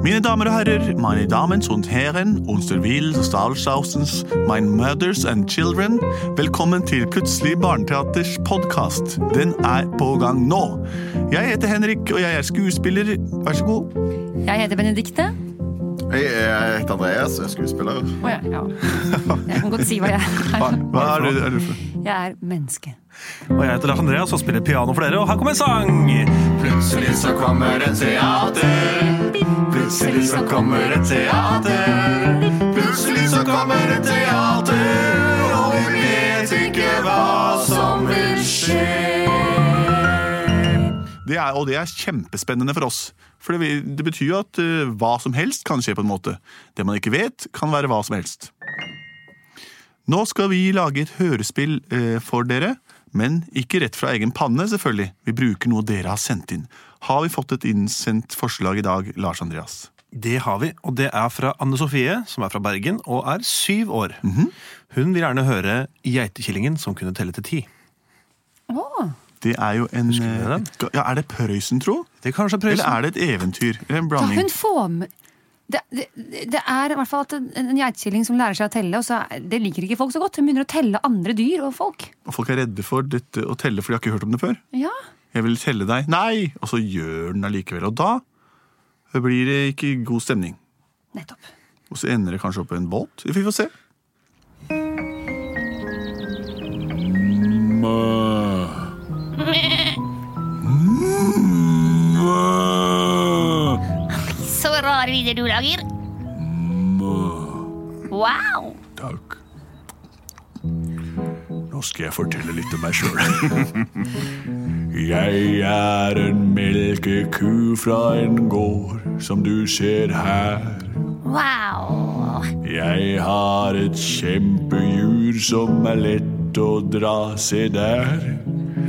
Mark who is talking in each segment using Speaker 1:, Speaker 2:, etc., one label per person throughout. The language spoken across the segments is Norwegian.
Speaker 1: Mine damer og herrer, meine Damen und Herren, unser Will Stahlsausens, my mothers and children, velkommen til Plutselig barneteaters podkast. Den er på gang nå. Jeg heter Henrik, og jeg er skuespiller. Vær så god.
Speaker 2: Jeg heter Benedikte.
Speaker 3: Hei, Eh, jeg heter Andreas, jeg er skuespiller.
Speaker 2: Og jeg, ja. jeg kan godt si hva jeg er.
Speaker 1: Hva er du, er du for?
Speaker 2: Jeg er menneske.
Speaker 4: Og jeg heter Lars Andreas og spiller piano for dere, og her kommer en sang!
Speaker 3: Plutselig så kommer et teater. Plutselig så kommer et teater. Plutselig så kommer et teater, og vi vet ikke hva som vil skje.
Speaker 1: Det er, og det er kjempespennende for oss. For det, vil- det betyr jo at eh, hva som helst kan skje på en måte. Det man ikke vet, kan være hva som helst. Nå skal vi lage et hørespill eh, for dere, men ikke rett fra egen panne, selvfølgelig. Vi bruker noe dere har sendt inn. Har vi fått et innsendt forslag i dag, Lars Andreas?
Speaker 4: Det har vi, og det er fra Anne Sofie, som er fra Bergen og er syv år. Hun vil gjerne høre Geitekillingen som kunne telle til ti.
Speaker 2: Åh,
Speaker 1: Det er jo en
Speaker 4: dere
Speaker 1: eh,
Speaker 4: den?
Speaker 1: et- ja, Er det Prøysen, tro?
Speaker 4: Det er kanskje
Speaker 1: Eller
Speaker 4: prøysen.
Speaker 1: er det et eventyr? Eller en
Speaker 2: hva
Speaker 1: blanding?
Speaker 2: hun får med det, det, det er i hvert fall at en, en geitekilling som lærer seg å telle, og så er, det liker ikke folk så godt. Hun begynner å telle andre dyr og folk.
Speaker 1: Og folk er redde for dette å telle, for de har ikke hørt om det før.
Speaker 2: Ja,
Speaker 1: Jeg vil telle deg. Nei! Og så gjør den allikevel. Og da blir det ikke god stemning.
Speaker 2: nettopp.
Speaker 1: Og så ender det kanskje opp i en vold. Vi får se.
Speaker 5: Så rare lyder du lager. Wow!
Speaker 1: Takk. Nå skal jeg fortelle litt om meg sjøl.
Speaker 6: Jeg er en melkeku fra en gård som du ser her.
Speaker 5: Wow!
Speaker 6: Jeg har et kjempejur som er lett å dra, se der.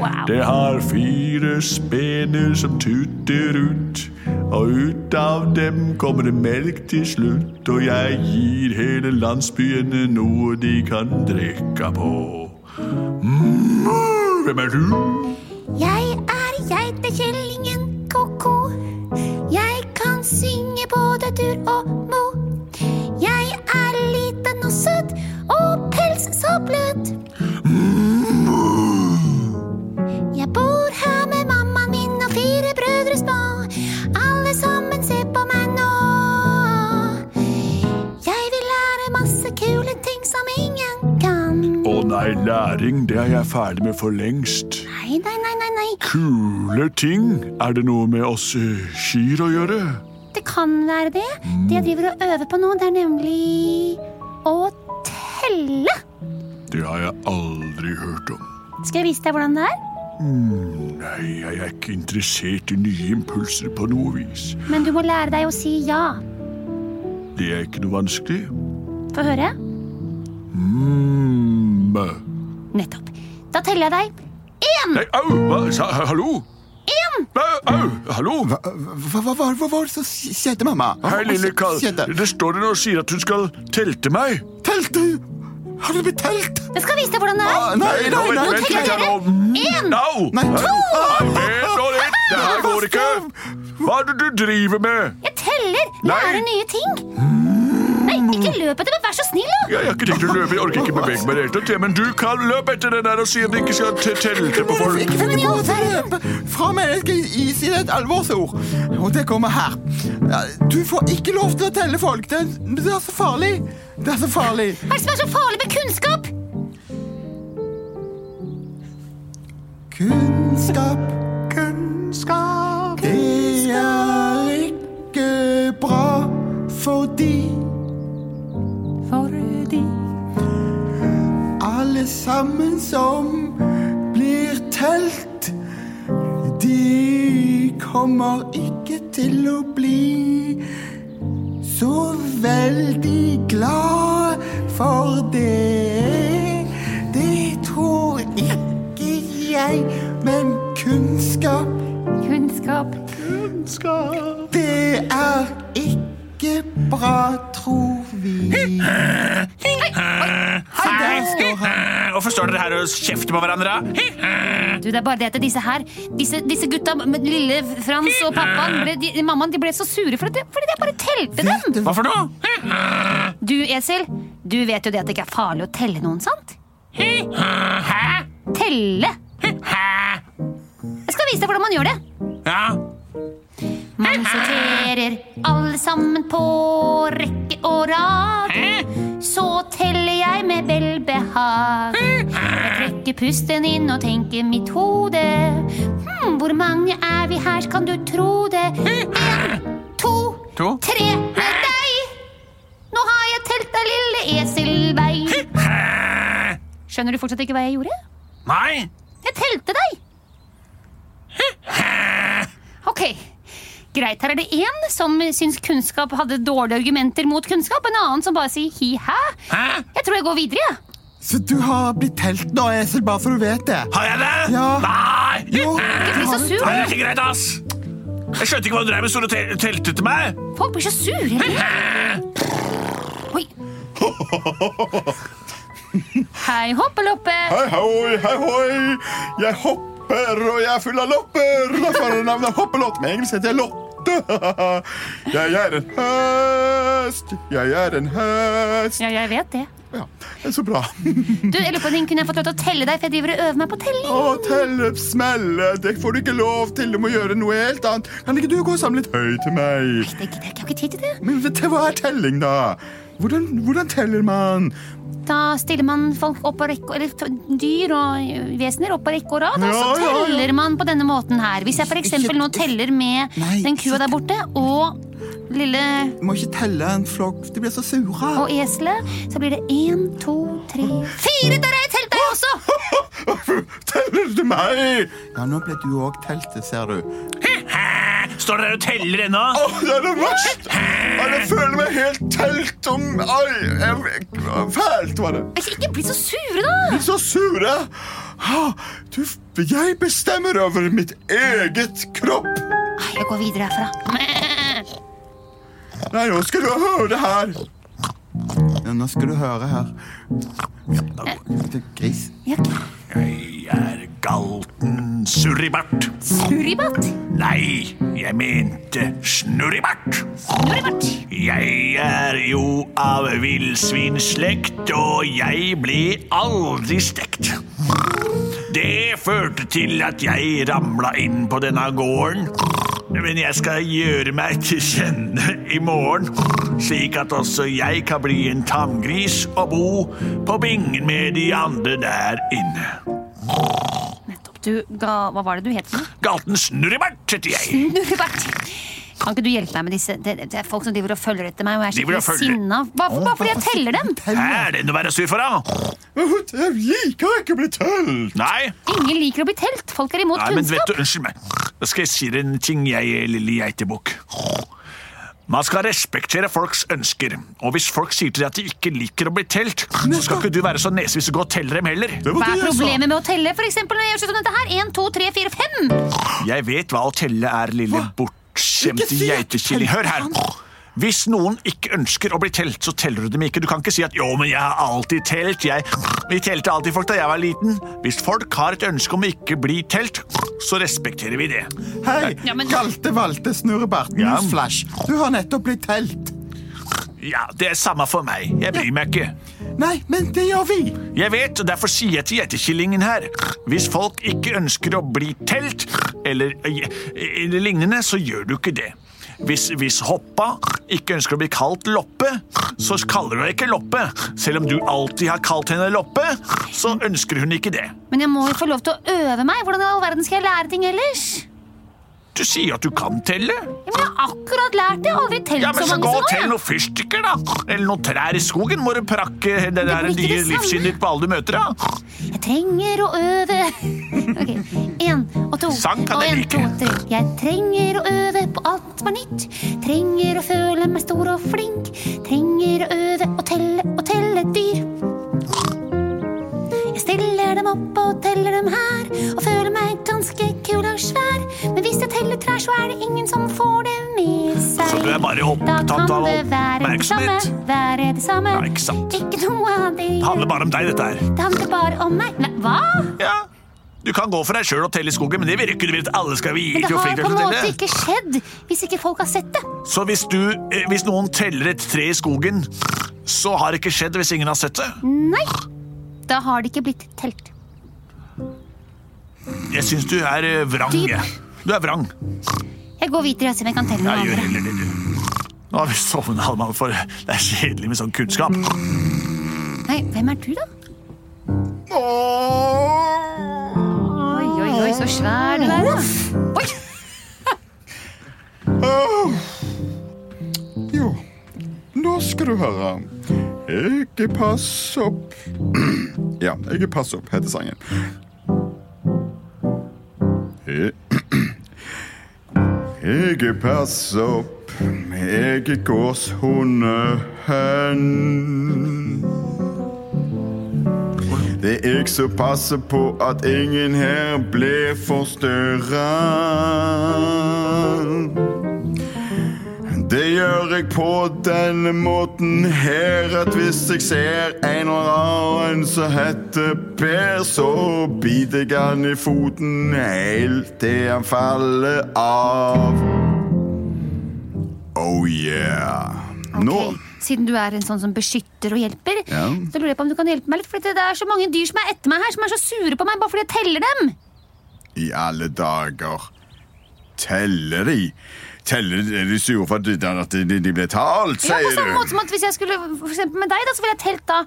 Speaker 5: Wow!
Speaker 6: Det har fire spener som tuter ut, og ut av dem kommer det melk til slutt. Og jeg gir hele landsbyene noe de kan drikke på. Mm, hvem er du?
Speaker 5: Jeg er geitekjellingen ko-ko. Jeg kan synge både dur og mo. Jeg er liten og søt, og pels så bløt. Jeg bor her med mammaen min og fire brødre små. Alle sammen ser på meg nå. Jeg vil lære masse kule ting som ingen kan.
Speaker 6: Å nei, læring, det er jeg ferdig med for lengst.
Speaker 5: Nei, nei, nei, nei, nei.
Speaker 6: Kule ting, er det noe med oss eh, kyr å gjøre?
Speaker 5: Det kan være det. Det
Speaker 3: Mm.
Speaker 5: jeg driver og øver på nå, det er nemlig å telle.
Speaker 6: Det har jeg aldri hørt om.
Speaker 5: Skal jeg vise deg hvordan det er?
Speaker 6: Nei, jeg er ikke interessert i nye impulser på noe vis.
Speaker 5: Men du må lære deg å si ja.
Speaker 6: Det er ikke noe vanskelig.
Speaker 5: Få høre.
Speaker 6: Mm.
Speaker 5: Nettopp. Da teller jeg deg. Én!
Speaker 6: Nei, au, hva, sa, hallo?
Speaker 5: Én!
Speaker 6: Au, au, hallo?
Speaker 3: Hva, hva, hva, hva, hva var det som skjedde, mamma? Hva var
Speaker 6: Hei,
Speaker 3: det
Speaker 6: lille
Speaker 3: som
Speaker 6: kall.
Speaker 3: skjedde?
Speaker 6: Det står der og sier at hun skal telte meg.
Speaker 3: Telt, du! Har du blitt telt?
Speaker 5: Jeg skal vise deg hvordan det
Speaker 3: Ah,
Speaker 5: er.
Speaker 3: nei, nei, nei,
Speaker 5: Nå
Speaker 6: vent
Speaker 5: teller
Speaker 6: litt her
Speaker 5: dere.
Speaker 6: nå. Mm,
Speaker 5: Én!
Speaker 6: Au!
Speaker 3: Nei, to!
Speaker 6: Nei, vent nå litt. Det her går ikke. Hva er det du driver med?
Speaker 5: Jeg teller. Lærer nye ting.
Speaker 3: Mm.
Speaker 5: Nei, ikke løp etter meg. Vær så snill, da.
Speaker 6: Jeg har ikke tenkt å løpe. Jeg orker ikke bevege meg i det hele tatt. jeg, Men du kan løpe etter den der og si at de ikke skal te- telte på
Speaker 3: Dere
Speaker 6: folk.
Speaker 3: fikk
Speaker 5: Men i
Speaker 3: veldig
Speaker 5: all
Speaker 3: god hjelp fra mennesket i sin et alvorsord. Og det kommer her. Ja, Du får ikke lov til å telle folk. Det er, det er så farlig. Det er så farlig.
Speaker 5: Hva er det som er så farlig med kunnskap?
Speaker 3: Kunnskap, kunnskap Det er ikke bra fordi
Speaker 2: Fordi
Speaker 3: alle sammen som blir telt, de kommer ikke til å bli så veldig glad for det. Det tror ikke jeg, men kunnskap,
Speaker 2: Kunnskap.
Speaker 3: det er ikke bra, tror vi. Hei, der står han.
Speaker 6: Hvorfor står dere her og kjefter på hverandre?
Speaker 2: Du, det er bare det at disse her, disse, disse gutta, med lille Frans og pappaen, ble, de, mammaen, de ble så sure for at det, fordi jeg bare telte dem.
Speaker 3: Vet du
Speaker 6: Hva for noe?
Speaker 2: Du, Esel, du vet jo det at det ikke er farlig å telle noen, sant? Telle. Jeg skal vise deg hvordan man gjør det.
Speaker 6: Ja,
Speaker 2: Man sorterer alle sammen på rekke og rad. Så teller jeg med velbehag. Jeg trekker pusten inn og tenker mitt hode. Hm, hvor mange er vi her, kan du tro det? En, to,
Speaker 6: To.
Speaker 2: tre med deg! Nå har jeg telt deg, lille eselvei. Skjønner du fortsatt ikke hva jeg gjorde?
Speaker 6: nei.
Speaker 2: Jeg telte deg! Ok, greit. Her er det én som syns kunnskap hadde dårlige argumenter mot kunnskap. En annen som bare sier hi-hæ.
Speaker 6: Hæ?
Speaker 2: Jeg tror jeg går videre, jeg.
Speaker 3: Så du har blitt telt nå, Esel, bare for du vet det.
Speaker 6: Har jeg det?
Speaker 3: Ja.
Speaker 6: Nei!
Speaker 3: Jo,
Speaker 2: Ikke bli så sur.
Speaker 6: Nei, det er ikke greit, ass. Jeg skjønte ikke hva du drev med, stod og tel- telte til meg.
Speaker 2: Folk blir så sure. hele tiden. Oi. Hei, hoppeloppe.
Speaker 7: Hei hoi, hei hoi, jeg hopper og jeg er full av lopper. Derfor er navnet Hoppelott, men engelsk heter jeg Lotte. Jeg er en hest, jeg er en hest.
Speaker 2: Ja, jeg vet det.
Speaker 7: Ja, det er så bra.
Speaker 2: Du, jeg lurer på om Kunne jeg fått lov til å telle deg, for jeg driver og øver meg på telling?
Speaker 7: Å, telle, smelle, det får du ikke lov til. Du må gjøre noe helt annet. Kan ikke du gå sammen litt høy til meg?
Speaker 2: Det gidder jeg ikke. Jeg har ikke tid til det.
Speaker 7: Men vet du, hva er telling, da? Hvordan, hvordan teller man?
Speaker 2: Da stiller man folk opp på rekke Eller t- dyr og ø, vesener opp på rekke og rad. Og så
Speaker 7: Ja, ja, ja.
Speaker 2: teller man på denne måten her. Hvis jeg f.eks. nå teller med
Speaker 3: Nei,
Speaker 2: den kua
Speaker 3: ikke-
Speaker 2: der borte og lille
Speaker 3: Du må ikke telle en flokk, de blir så sure.
Speaker 2: og eselet, så blir det én, to, tre Fire! Der har jeg telt deg også!
Speaker 7: Teller du meg?
Speaker 3: Ja, nå ble du òg teltet, ser du.
Speaker 6: Står dere og teller ennå?
Speaker 7: Å, det er det verste! Å, Jeg føler meg helt telt om Ai, jeg, fælt var det.
Speaker 2: Ikke- Ikke bli så sure, da!
Speaker 7: Så sure! Ha, Du, jeg bestemmer over mitt eget kropp.
Speaker 2: Nei, Jeg går videre herfra.
Speaker 7: Nei, nå skal du høre det her.
Speaker 3: Ja, nå skal du høre her. Du gris.
Speaker 1: Jeg er galten surribart.
Speaker 2: Suribart.
Speaker 1: Nei, jeg mente snurribart.
Speaker 2: Snurribart.
Speaker 1: Jeg er jo av villsvinslekt, og jeg ble aldri stekt. Det førte til at jeg ramla inn på denne gården. Men jeg skal gjøre meg til kjenne i morgen, slik at også jeg kan bli en tamgris og bo på bingen med de andre der inne.
Speaker 2: Nettopp. Du ga Hva var det du het? for noe?
Speaker 1: Galten Snurribart heter jeg.
Speaker 2: Snurrebart. Kan ikke du hjelpe meg med disse? Det, det er folk som driver og følger etter meg, og jeg
Speaker 1: De vil
Speaker 2: er
Speaker 1: ha
Speaker 2: skikkelig
Speaker 1: følger.
Speaker 2: sinna. Bare, bare fordi jeg teller dem.
Speaker 1: Er det noe å være sur for, da?
Speaker 7: Jeg liker ikke å bli telt.
Speaker 1: Nei?
Speaker 2: Ingen liker å bli telt. Folk er imot
Speaker 1: Nei, men vet
Speaker 2: kunnskap.
Speaker 1: du, Unnskyld meg. Da skal jeg si deg en ting, jeg lille geitebukk. Man skal respektere folks ønsker. Og hvis folk sier til deg at de ikke liker å bli telt, så skal ikke du være så nesevis og gå og telle dem heller.
Speaker 7: Det var
Speaker 2: Hva
Speaker 7: det
Speaker 2: er
Speaker 7: jeg sa.
Speaker 2: problemet med å telle? For eksempel når jeg gjør sånn som dette her. En, to, tre, fire, fem.
Speaker 1: Jeg vet hva å telle er, lille bortskjemte
Speaker 3: Ikke si at du
Speaker 1: geitekilling. Hør her.
Speaker 3: teller han.
Speaker 1: Hvis noen ikke ønsker å bli telt, så teller du dem ikke. Du kan ikke si at 'jo, men jeg har alltid telt'. Jeg, vi telte alltid folk da jeg var liten. Hvis folk har et ønske om å ikke bli telt, så respekterer vi det.
Speaker 3: Hei,
Speaker 2: Ja, men-
Speaker 3: kalte valte snurrebart.
Speaker 1: Ja.
Speaker 3: Newsflash. Du har nettopp blitt telt.
Speaker 1: Ja, Det er samme for meg. Jeg bryr meg ikke.
Speaker 3: Nei, men det gjør vi.
Speaker 1: Jeg vet, og derfor sier jeg til geitekillingen her Hvis folk ikke ønsker å bli telt eller, eller lignende, så gjør du ikke det. Hvis, hvis hoppa ikke ønsker å bli kalt Loppe, så kaller du henne ikke Loppe. Selv om du alltid har kalt henne Loppe, så ønsker hun ikke det.
Speaker 2: Men jeg må jo få lov til å øve meg. Hvordan i all verden skal jeg lære ting ellers?
Speaker 1: Du sier at du kan telle.
Speaker 5: Ja, men jeg har akkurat lært det. Jeg har aldri telt
Speaker 1: Ja, men så
Speaker 5: så mange
Speaker 1: gå og
Speaker 5: som
Speaker 1: tell
Speaker 5: nå.
Speaker 1: noen fyrstikker, da. Eller noen trær i skogen må du prakke det der
Speaker 5: blir ikke
Speaker 1: nye
Speaker 5: det samme.
Speaker 1: livssynet ditt på alle du møter, da.
Speaker 5: Jeg trenger å øve. Ok, Én og to.
Speaker 1: Sang kan
Speaker 5: og
Speaker 1: jeg
Speaker 5: en,
Speaker 1: like.
Speaker 5: to, tre. Jeg trenger å øve på alt som er nytt. Trenger å føle meg stor og flink. Trenger å øve og telle og telle dyr. Jeg stiller dem opp og teller dem her, og føler meg ganske kul og svær. Men hvis jeg teller trær, så er det ingen som får det med seg.
Speaker 1: Så du er bare
Speaker 5: Da
Speaker 1: opptatt
Speaker 5: kan
Speaker 1: av
Speaker 5: det være det samme,
Speaker 1: oppmerksomhet.
Speaker 5: være det samme.
Speaker 1: Ja, ikke sant.
Speaker 5: Ikke noe av det.
Speaker 1: Det handler bare om deg, dette her.
Speaker 5: Det handler bare om meg. Nei, hva?
Speaker 1: Ja. Du kan gå for deg sjøl og telle i skogen, men det vil jo ikke du vil at alle skal vite.
Speaker 5: Men det
Speaker 1: hvor flink du
Speaker 5: har
Speaker 1: er
Speaker 5: på en
Speaker 1: til å
Speaker 5: måte
Speaker 1: telle.
Speaker 5: ikke skjedd hvis ikke folk har sett det.
Speaker 1: Så hvis, du, eh, hvis noen teller et tre i skogen, så har det ikke skjedd hvis ingen har sett det.
Speaker 5: Nei, da har det ikke blitt telt.
Speaker 1: Jeg syns du er eh, vrang.
Speaker 5: Dyp.
Speaker 1: jeg. Du er vrang.
Speaker 5: Jeg går videre og ser om jeg kan telle noen
Speaker 1: Jeg gjør
Speaker 5: andre.
Speaker 1: heller det, du. Nå har vi sovna, Alman, for det er kjedelig med sånn kunnskap.
Speaker 5: Nei, hvem er du, da? Oi, oi, oi, så svær du er, da. Oi,
Speaker 3: Jo, nå skal du høre. Ikke pass opp Ja, ikke pass opp, heter sangen. Eh, Ikke pass opp, ikke gåshundehen. Det er jeg som passer på at ingen her blir forstyrra. Det gjør jeg på denne måten her at hvis jeg ser en eller annen som heter Per, så biter jeg han i foten helt til han faller av. Oh yeah. Nå
Speaker 5: ok. Siden du er en sånn som beskytter og hjelper,
Speaker 3: Ja.
Speaker 5: så lurer jeg på om du kan hjelpe meg litt. For det er så mange dyr som er etter meg her, som er så sure på meg bare fordi jeg teller dem.
Speaker 3: i alle dager teller de. Teller de, er de sure for at de, at de, de ble talt,
Speaker 5: Ja, på
Speaker 3: sier
Speaker 5: samme måte
Speaker 3: du?
Speaker 5: som at hvis jeg skulle for eksempel med deg, da, så ville jeg telt da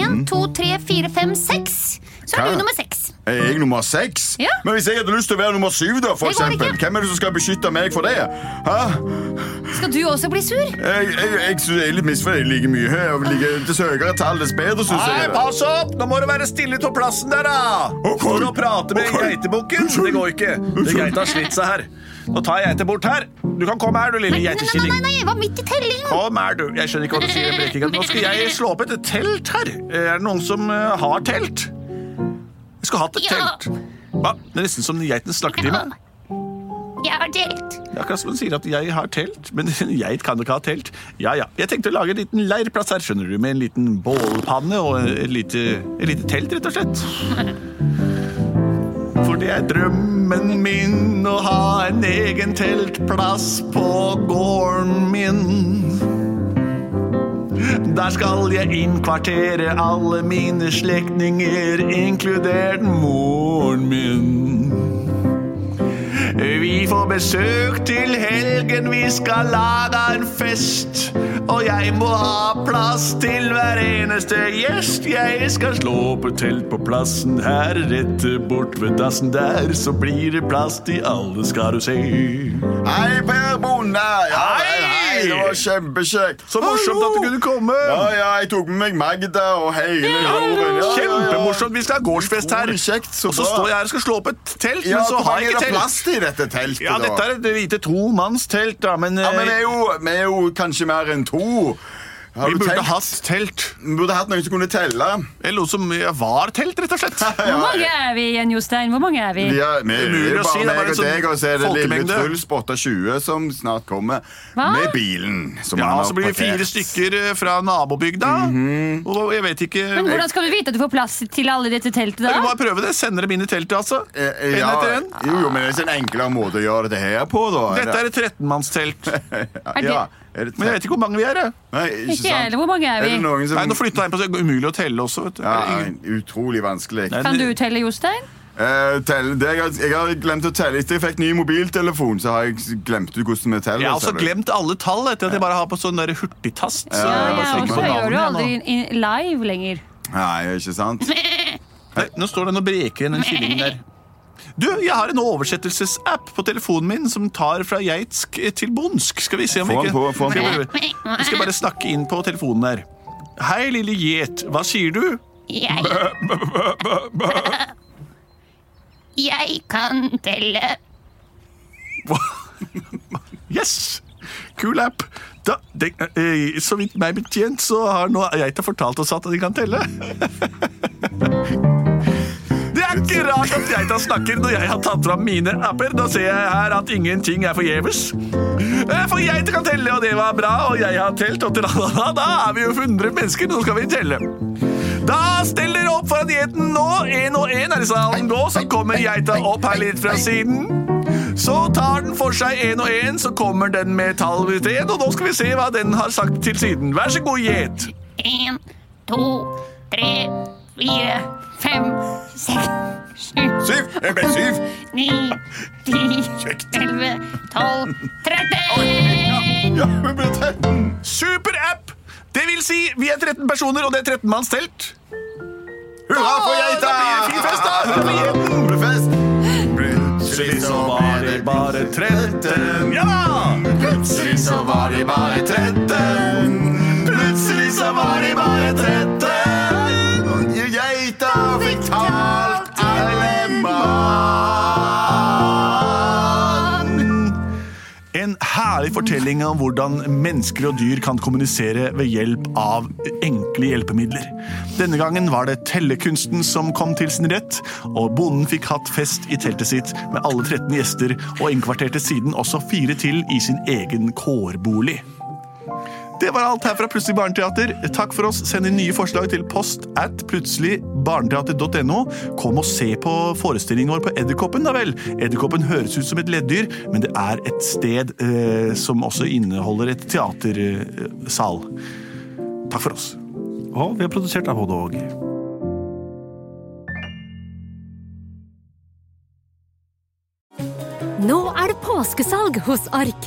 Speaker 5: én, to, tre, fire, fem, seks. Så
Speaker 3: Mhm. Hva?
Speaker 5: er du nummer seks.
Speaker 3: Er jeg nummer seks?
Speaker 5: Ja.
Speaker 3: Men hvis jeg hadde lyst til å være nummer syv, da, for
Speaker 5: Det går
Speaker 3: eksempel,
Speaker 5: ikke.
Speaker 3: hvem er det som skal beskytte meg for det? Hæ?
Speaker 5: Skal du også bli sur?
Speaker 3: Jeg, jeg, jeg synes jeg er litt misfornøyd like mye. Jeg ligger til høyere tall, dess bedre, synes
Speaker 1: Nei,
Speaker 3: jeg.
Speaker 1: pass opp! Nå må du være stille på plassen der, da!
Speaker 3: Ok.
Speaker 1: Står og prater med
Speaker 3: Ok.
Speaker 1: geitebukken. Det går ikke. Det Geita har slitt seg her. Nå tar jeg geita bort her. Du kan komme her, du lille
Speaker 5: Nei, nei, nei,
Speaker 1: geitekilling.
Speaker 5: nei, jeg var midt i tellingen.
Speaker 1: Kom her, du. Jeg skjønner ikke hva du sier. Blekingen. Nå skal jeg slå opp et telt her. Er det noen som eh, har telt? Vi skulle hatt et
Speaker 5: Ja.
Speaker 1: telt. Hva? Det er nesten som geitens slakketime.
Speaker 5: Jeg har delt.
Speaker 1: Det er Akkurat som hun sier at jeg har telt, men en geit kan ikke ha telt. Ja, ja. Jeg tenkte å lage en liten leirplass her, skjønner du, med en liten bålpanne og et lite, et lite telt, rett og slett. For det er drømmen min å ha en egen teltplass på gården min. Der skal jeg innkvartere alle mine slektninger, inkludert moren min. Vi får besøk til helgen, vi skal lage en fest. Og jeg må ha plass til hver eneste gjest. Jeg skal slå opp et telt på plassen her, rett bort ved dassen der. Så blir det plass til alle, skal du se.
Speaker 3: Hei, Per Bonde! Ja, hei, hei,
Speaker 1: Hei!
Speaker 3: det var kjempekjekt.
Speaker 1: Så morsomt at du kunne komme!
Speaker 3: Ja, ja, jeg tok med meg Magda og hele jorden. Ja, ja, ja.
Speaker 1: Kjempemorsomt. Vi skal ha gårdsfest her.
Speaker 3: Utrolig kjekt, så
Speaker 1: Og så
Speaker 3: bra.
Speaker 1: står jeg her og skal slå opp et telt,
Speaker 3: Ja,
Speaker 1: men så
Speaker 3: hvor
Speaker 1: har
Speaker 3: mange
Speaker 1: jeg
Speaker 3: er
Speaker 1: ikke
Speaker 3: det
Speaker 1: telt.
Speaker 3: plass til i dette teltet,
Speaker 1: Ja,
Speaker 3: da?
Speaker 1: dette er et lite tomannstelt, da, men,
Speaker 3: Ja, men vi er,
Speaker 1: eh,
Speaker 3: jo, vi er jo kanskje mer enn to. Har
Speaker 1: vi
Speaker 3: du
Speaker 1: burde
Speaker 3: telt?
Speaker 1: hatt telt.
Speaker 3: Vi burde hatt noen som kunne telle.
Speaker 1: Eller noe som var telt, rett og slett.
Speaker 5: Hvor mange er vi igjen, Jostein? Hvor mange er vi?
Speaker 3: Vi er, vi, det
Speaker 1: Umulig
Speaker 3: er
Speaker 1: å
Speaker 3: bare
Speaker 1: si, det er
Speaker 3: meg
Speaker 1: bare
Speaker 3: og deg,
Speaker 1: sånn
Speaker 3: og så er det lille
Speaker 1: folkemengde.
Speaker 3: Truls på 28 som snart kommer
Speaker 5: Hva?
Speaker 3: med bilen. Som han
Speaker 1: Ja,
Speaker 3: har
Speaker 1: så blir vi fire
Speaker 3: parkert.
Speaker 1: stykker eh, fra nabobygda.
Speaker 3: Mhm.
Speaker 1: Og jeg vet ikke
Speaker 5: Men hvordan skal du vite at du får plass til alle i dette teltet?
Speaker 1: Vi må
Speaker 5: da?
Speaker 1: bare prøve det. Sender dem inn i teltet, altså.
Speaker 3: Eh, eh,
Speaker 1: En
Speaker 3: ja,
Speaker 1: etter en.
Speaker 3: Jo, jo, men det er en sånn enklere måte å gjøre dette her på, da.
Speaker 1: Dette er et 13-mannstelt.
Speaker 5: Er det-
Speaker 3: ja, er det
Speaker 1: Men jeg vet ikke hvor mange vi er. jeg.
Speaker 3: Nei,
Speaker 5: Ikke jeg heller. Hvor mange
Speaker 3: Er
Speaker 5: er
Speaker 3: det
Speaker 5: vi?
Speaker 3: noen som
Speaker 1: Nei, nå flytta jeg inn på så det er umulig å telle også. Vet du.
Speaker 3: ja,
Speaker 1: Er det ingen-
Speaker 3: Utrolig vanskelig.
Speaker 1: Nei,
Speaker 5: Kan du telle, Jostein?
Speaker 3: Eh, tell, det, jeg, har- jeg har glemt å telle. Etter jeg fikk ny mobiltelefon, så har jeg s- glemt ut hvordan vi teller.
Speaker 1: Jeg har
Speaker 3: ser
Speaker 1: også
Speaker 3: du.
Speaker 1: altså, glemt alle tall etter at jeg bare har på sånn der hurtigtast. Så
Speaker 5: Ja,
Speaker 1: jeg bare trykker
Speaker 5: jeg også.
Speaker 1: Eh, altså, på
Speaker 5: Jeg gjør det jo
Speaker 1: navnet
Speaker 5: aldri
Speaker 1: igjen,
Speaker 5: in- in- live lenger.
Speaker 3: Nei, ikke sant?
Speaker 1: og- Nei, Nå står den og breker igjen, den kyllingen der. Du, jeg har en oversettelsesapp på telefonen min som tar fra geitsk til bondsk. Skal vi se om
Speaker 3: Få
Speaker 1: vi
Speaker 3: den
Speaker 1: ikke
Speaker 3: på, få den
Speaker 1: skal
Speaker 3: på.
Speaker 1: vi prøve? Vi skal bare snakke inn på telefonen der. Hei, lille gjet. Hva sier du?
Speaker 6: Jeg Jeg kan telle.
Speaker 1: Yes! Kul app. Da, det, eh, så vidt meg betjent, så har nå geita fortalt oss at de kan telle. Det er ikke rart at geita snakker når jeg har tatt fram mine apper. Da ser jeg her at ingenting er forgjeves. Eh, For geita kan telle, og det var bra, og jeg har telt, og tralala, da er vi jo 100 mennesker, nå skal vi telle. Da steller dere opp foran geiten nå, én og én er i salen nå, så kommer geita opp her litt fra siden. Så tar den for seg én og én, så kommer den med tall ved sted, og nå skal vi se hva den har sagt til siden. Vær så god, gjet.
Speaker 6: Én, to, tre, fire, fem, seks, sju,
Speaker 3: Syv! Jeg ble syv!
Speaker 6: ni, ti, elleve, tolv, tretten!
Speaker 3: Ja, vi ble 13!
Speaker 1: Superapp! Det vil si, vi er 13 personer, og det er 13 manns telt.
Speaker 3: Hurra for geita!
Speaker 1: Da blir det fin fest, da! Hurra for geita!
Speaker 3: Det blir fest! Plutselig så var det bare 13.
Speaker 1: Ja da!
Speaker 3: Plutselig så var det bare 13. Plutselig så var det bare 13. Og geita fikk talt alle mann.
Speaker 1: En herlig fortelling om hvordan mennesker og dyr kan kommunisere ved hjelp av enkle hjelpemidler. Denne gangen var det tellekunsten som kom til sin rett, og bonden fikk hatt fest i teltet sitt med alle 13 gjester, og innkvarterte siden også fire til i sin egen kårbolig. Det var alt her fra Plutselig barneteater. Takk for oss. Send inn nye forslag til post at plutseligbarneteater.no. Kom og se på forestillingen vår på Edderkoppen, da vel. Edderkoppen høres ut som et leddyr, men det er et sted eh, som også inneholder et teatersal. Takk for oss.
Speaker 4: Og vi har produsert av både og.
Speaker 5: Nå er det påskesalg hos Ark.